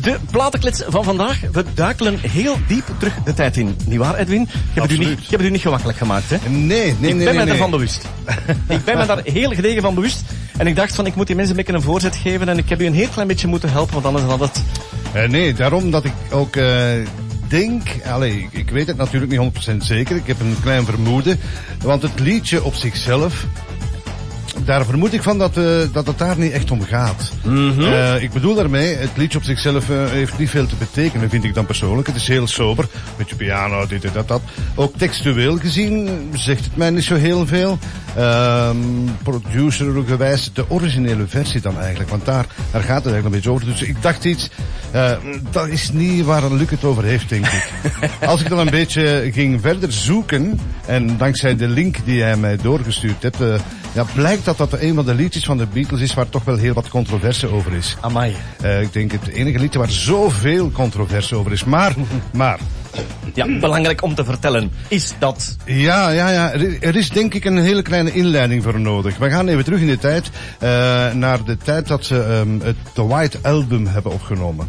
De platenklets van vandaag. We duikelen heel diep terug de tijd in. Niet waar, Edwin? Ik heb, het u, Absoluut. niet, ik heb het u niet gemakkelijk gemaakt, hè? Nee, nee, ik nee. ben nee, me daarvan nee. bewust. ik ben me daar heel gedegen van bewust. En ik dacht van, ik moet die mensen een beetje een voorzet geven. En ik heb u een heel klein beetje moeten helpen, want anders had het... Eh, nee, daarom dat ik ook eh, denk... Allee, ik- ik weet het natuurlijk niet 100% zeker. Ik heb een klein vermoeden. Want het liedje op zichzelf... Daar vermoed ik van dat, eh, dat het daar niet echt om gaat. Eh, ik bedoel daarmee, het liedje op zichzelf eh, heeft niet veel te betekenen, vind ik dan persoonlijk. Het is heel sober, met je piano, dit en dat, dat. Ook textueel gezien zegt het mij niet zo heel veel. Ehm producer-gewijs, de originele versie dan eigenlijk, want daar, daar gaat het eigenlijk een beetje over. Dus ik dacht iets, eh, dat is niet waar Luc het over heeft, denk ik. Als ik dan een beetje ging verder zoeken, en dankzij de link die hij mij doorgestuurd hebt, eh, ja, blijkt dat dat een van de liedjes van de Beatles is waar toch wel heel wat controverse over is. Amai. Eh, ik denk het enige liedje waar zoveel controverse over is. Maar, maar, Ja, belangrijk om te vertellen is dat... ja, ja, ja, er, er is denk ik een hele kleine inleiding voor nodig. We gaan even terug in de tijd, eh, naar de tijd dat ze ehm, het The White Album hebben opgenomen.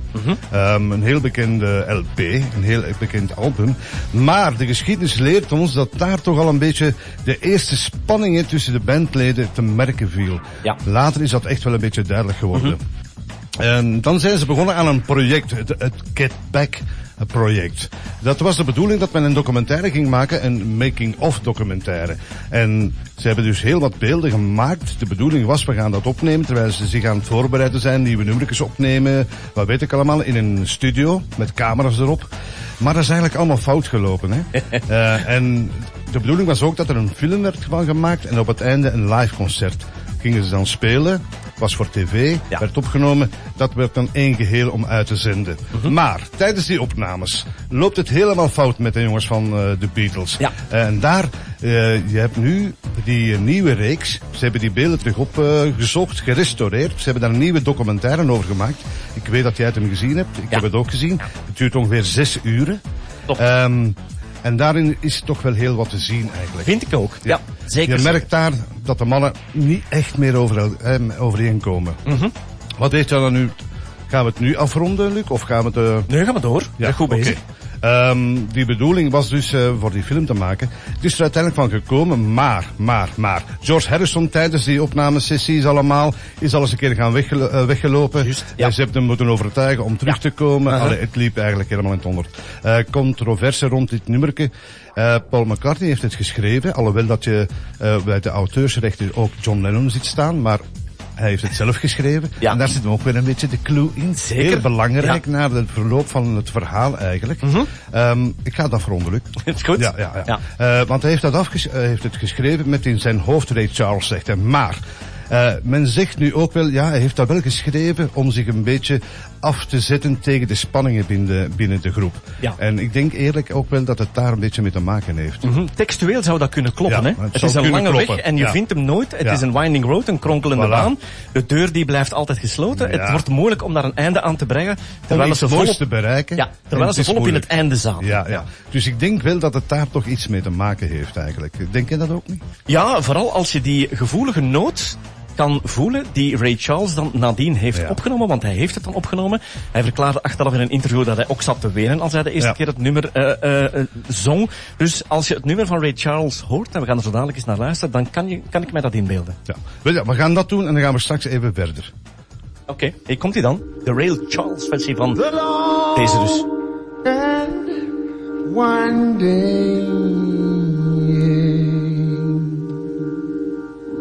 Ehm, een heel bekende LP, een heel bekend album. Maar de geschiedenis leert ons dat daar toch al een beetje de eerste spanningen tussen de bandleden te merken viel. Ja. Later is dat echt wel een beetje duidelijk geworden. En Ehm, dan zijn ze begonnen aan een project, het, het Get Back project. Dat was de bedoeling dat men een documentaire ging maken, een making-of documentaire. En ze hebben dus heel wat beelden gemaakt. De bedoeling was, we gaan dat opnemen terwijl ze zich aan het voorbereiden zijn, nieuwe nummertjes opnemen, wat weet ik allemaal, in een studio met camera's erop. Maar dat is eigenlijk allemaal fout gelopen. Hè? Eh, en de bedoeling was ook dat er een film werd van gemaakt en op het einde een live concert. Gingen ze dan spelen, was voor tv, Ja. werd opgenomen. Dat werd dan één geheel om uit te zenden. Maar tijdens die opnames loopt het helemaal fout met de jongens van eh, de Beatles. Ja. En daar, eh, je hebt nu die eh, nieuwe reeks. Ze hebben die beelden terug opgezocht, gerestaureerd. Ze hebben daar een nieuwe documentaire over gemaakt. Ik weet dat jij het hem gezien hebt. Ik heb het ook gezien. Het duurt ongeveer zes uren. Top. Ehm, en daarin is toch wel heel wat te zien eigenlijk. Vind ik ook. Ja, zeker. Je merkt daar dat de mannen niet echt meer over, eh, overeenkomen. Wat heeft dat dan nu? Gaan we het nu afronden, Luc? Of gaan we het... eh, Nee, ga maar door. Ja, goed oké. bezig. Ehm, die bedoeling was dus eh, voor die film te maken. Het is er uiteindelijk van gekomen, maar, maar, maar. George Harrison tijdens die opnamesessies allemaal is alles een keer gaan weggelo- eh, weggelopen. Juist, En ja. ze hebben hem moeten overtuigen om terug Ja. te komen. Aha. Allee, het liep eigenlijk helemaal in het honderd. Eh, controverse rond dit nummerke. Eh, Paul McCartney heeft het geschreven, alhoewel dat je eh, bij de auteursrechten ook John Lennon ziet staan, maar hij heeft het zelf geschreven. Ja. En daar zit ook weer een beetje de clue in. Zeker. Heel belangrijk Ja. naar het verloop van het verhaal eigenlijk. Ehm, ik ga dat verongelukken. Mhm. Is goed. Ja, ja, ja. Ja. Eh, want hij heeft, dat afges- eh, heeft het geschreven met in zijn hoofd Ray Charles, zegt hij. Maar eh, men zegt nu ook wel, ja, hij heeft dat wel geschreven om zich een beetje af te zetten tegen de spanningen binnen de, binnen de groep. Ja. En ik denk eerlijk ook wel dat het daar een beetje mee te maken heeft. Mhm. Textueel zou dat kunnen kloppen. hè? Ja, Het, het zou is een kunnen lange weg kloppen, en je ja. vindt hem nooit. Het Ja. is een winding road, een kronkelende Voilà. baan. De deur die blijft altijd gesloten. Ja. Het wordt moeilijk om daar een einde aan te brengen. Om Terwijl iets ze moois volop, te bereiken. ja, En terwijl het ze is volop in het moeilijk. einde zaten. Ja, ja. Dus ik denk wel dat het daar toch iets mee te maken heeft eigenlijk. Denk je dat ook niet? Ja, vooral als je die gevoelige noot kan voelen die Ray Charles dan nadien heeft Ja. opgenomen, want hij heeft het dan opgenomen. Hij verklaarde achteraf in een interview dat hij ook zat te wenen als hij de eerste Ja. keer het nummer eh, eh, eh, zong. Dus als je het nummer van Ray Charles hoort, en we gaan er zo dadelijk eens naar luisteren, dan kan, je, kan ik mij dat inbeelden. Ja. Wel ja, We gaan dat doen en dan gaan we straks even verder. Oké, hier komt hij dan. De Ray Charles versie van deze dus. And one day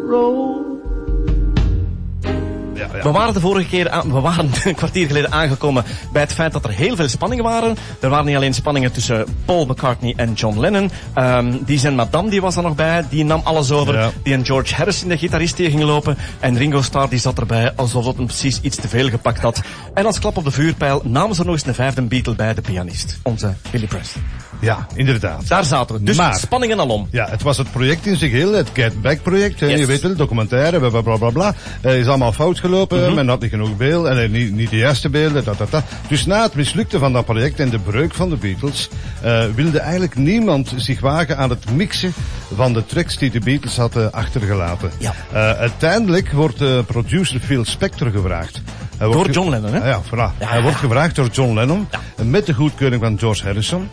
roll Ja, ja. We waren de vorige keer, aan, we waren een kwartier geleden aangekomen bij het feit dat er heel veel spanningen waren. Er waren niet alleen spanningen tussen Paul McCartney en John Lennon. Ehm, die zijn madame die was er nog bij, die nam alles over. Ja. Die en George Harrison, de gitarist, die ging lopen. En Ringo Starr die zat erbij, alsof dat hem precies iets te veel gepakt had. En als klap op de vuurpijl namen ze er nog eens een vijfde Beatle bij, de pianist. Onze Billy Preston. Ja, inderdaad. Daar zaten we. Dus Maar- spanningen alom. Ja, het was het project in zich heel, het Get Back project. hè. Yes. Je weet wel, documentaire, bla bla bla bla. bla. Eh, is allemaal fout gelopen, men had niet genoeg beelden, en eh, niet, niet de juiste beelden, dat, dat, dat. Dus na het mislukte van dat project en de breuk van de Beatles, eh, wilde eigenlijk niemand zich wagen aan het mixen van de tracks die de Beatles hadden achtergelaten. Ja. Eh, uiteindelijk wordt eh, producer Phil Spector gevraagd. Hij wordt Door ge- John Lennon, hè? Ah, Ja, voilà. Hij wordt gevraagd door John Lennon met de goedkeuring van George Harrison.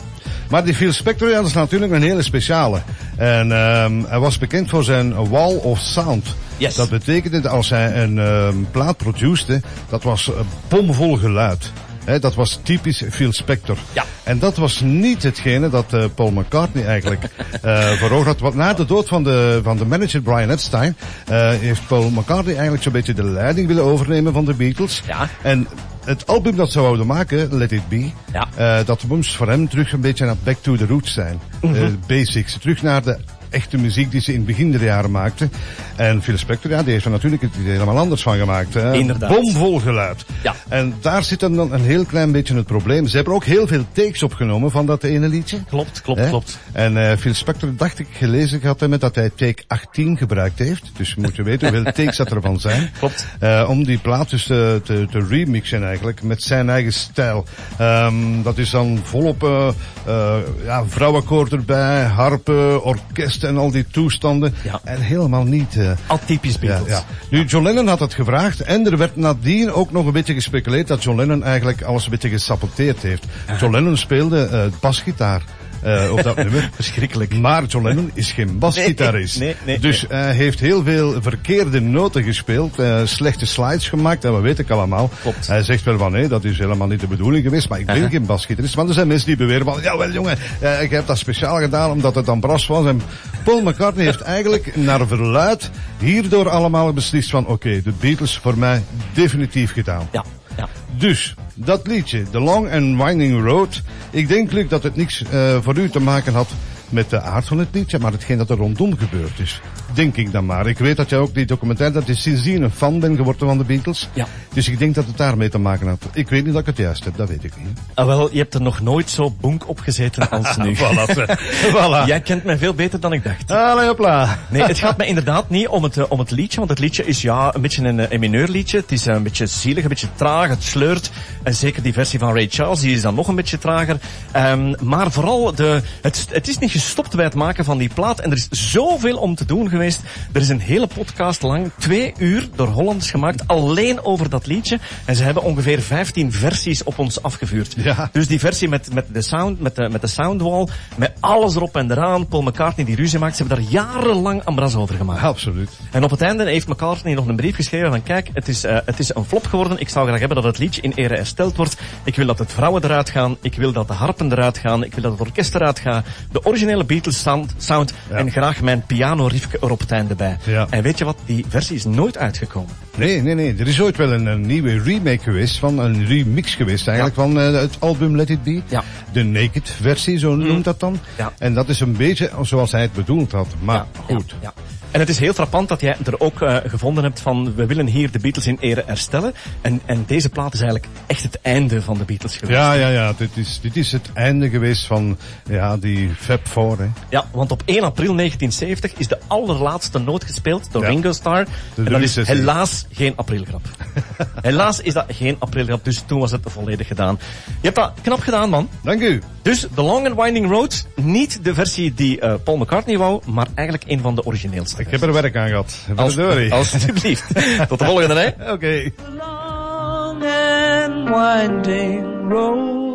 Maar die Phil Spector, ja, dat is natuurlijk een hele speciale. En ehm, hij was bekend voor zijn wall of sound. Yes. Dat betekende dat als hij een ehm, plaat produceerde, dat was eh, bomvol geluid. Hè, dat was typisch Phil Spector. Ja. En dat was niet hetgene dat eh, Paul McCartney eigenlijk eh veroorzaakt had. Want na de dood van de, van de manager Brian Epstein eh, heeft Paul McCartney eigenlijk zo'n beetje de leiding willen overnemen van de Beatles. Ja. En het album dat ze wouden maken, Let It Be, Ja. eh, dat moest voor hem terug een beetje naar back to the roots zijn. Mhm. Eh, basics. Terug naar de echte muziek die ze in het begin der jaren maakten. En Phil Spector, ja, die heeft er natuurlijk het idee helemaal anders van gemaakt. Hè. Inderdaad. Bomvol geluid. Ja. En daar zit dan een heel klein beetje het probleem. Ze hebben ook heel veel takes opgenomen van dat ene liedje. Klopt, klopt, Hè? klopt. En eh, Phil Spector dacht ik gelezen gehad hebben dat hij take 18 gebruikt heeft. Dus je moet je weten hoeveel takes dat ervan zijn. Klopt. Eh, om die plaat dus te, te, te remixen eigenlijk met zijn eigen stijl. Ehm, dat is dan volop eh eh, ja, vrouwenkoor erbij, harpen, orkest en al die toestanden. Ja. En helemaal niet... eh, Atypisch ja, Beatles. ja. Nu, John Lennon had het gevraagd en er werd nadien ook nog een beetje gespeculeerd dat John Lennon eigenlijk alles een beetje gesaboteerd heeft. John Lennon speelde eh basgitaar. eh, op dat nummer. Verschrikkelijk. Maar John Lennon is geen basgitarist. Nee, nee, nee, dus hij heeft heel veel verkeerde noten gespeeld, eh, slechte slides gemaakt, en dat weet ik allemaal. Klopt. Hij zegt wel van nee, dat is helemaal niet de bedoeling geweest, maar ik ben geen basgitarist. Want er zijn mensen die beweren van, jawel jongen, eh, ik heb dat speciaal gedaan omdat het dan bras was. En Paul McCartney heeft eigenlijk naar verluid hierdoor allemaal beslist van oké, de Beatles voor mij definitief gedaan. Ja, ja. Dus, dat liedje, The Long and Winding Road. Ik denk, Luc, dat het niks eh, voor u te maken had met de aard van het liedje, maar hetgeen dat er rondom gebeurd is. Denk ik dan maar. Ik weet dat jij ook die documentaire, dat je sindsdien een fan bent geworden van de Beatles. Ja. Dus ik denk dat het daarmee te maken had. Ik weet niet dat ik het juist heb, dat weet ik niet. Ah, wel, je hebt er nog nooit zo bonk op gezeten als nu. Voilà. ze. voilà. Jij kent mij veel beter dan ik dacht. Allee, hopla. Nee, het gaat me inderdaad niet om het, eh, om het liedje, want het liedje is ja een beetje een, eh, een mineurliedje. Het is eh, een beetje zielig, een beetje traag, het sleurt. En zeker die versie van Ray Charles, die is dan nog een beetje trager. Ehm, maar vooral, de, het, het is niet gestopt bij het maken van die plaat. En er is zoveel om te doen geweest. Er is een hele podcast lang, twee uur, door Hollanders gemaakt, alleen over dat liedje. En ze hebben ongeveer 15 versies op ons afgevuurd. Ja. Dus die versie met, met, de sound, met, de, met de soundwall, met alles erop en eraan, Paul McCartney die ruzie maakt, ze hebben daar jarenlang ambras over gemaakt. Absoluut. En op het einde heeft McCartney nog een brief geschreven van kijk, het is, eh, het is een flop geworden, ik zou graag hebben dat het liedje in ere hersteld wordt. Ik wil dat het vrouwen eruit gaan, ik wil dat de harpen eruit gaan, ik wil dat het orkest eruit gaat, de originele Beatles sound, sound en graag mijn piano riffje er op het einde bij. Ja. En weet je wat, die versie is nooit uitgekomen. Nee, nee, nee. Er is ooit wel een, een nieuwe remake geweest, van een remix geweest eigenlijk, van eh, het album Let It Be. Ja. Mm. De naked versie, zo noemt dat dan. Ja. En dat is een beetje zoals hij het bedoeld had. Maar goed. Ja, ja. En het is heel frappant dat jij er ook eh, gevonden hebt van we willen hier de Beatles in ere herstellen. En, en deze plaat is eigenlijk echt het einde van de Beatles geweest. Ja, ja, ja. Dit is, dit is het einde geweest van ja, die Fab Four. Hè. Ja, want op 1 april 1970 is de allerlaatste noot gespeeld door Ja. Ringo Starr. En dat is release-sessie. helaas geen aprilgrap. helaas is dat geen aprilgrap, dus toen was het volledig gedaan. Je hebt dat knap gedaan, man. Dank u. Dus The Long and Winding Road, niet de versie die eh, Paul McCartney wou, maar eigenlijk een van de origineelste. Ik heb er werk aan gehad. Als- Verdorie. Alsjeblieft. Tot de volgende, hè. Oké. long and winding road.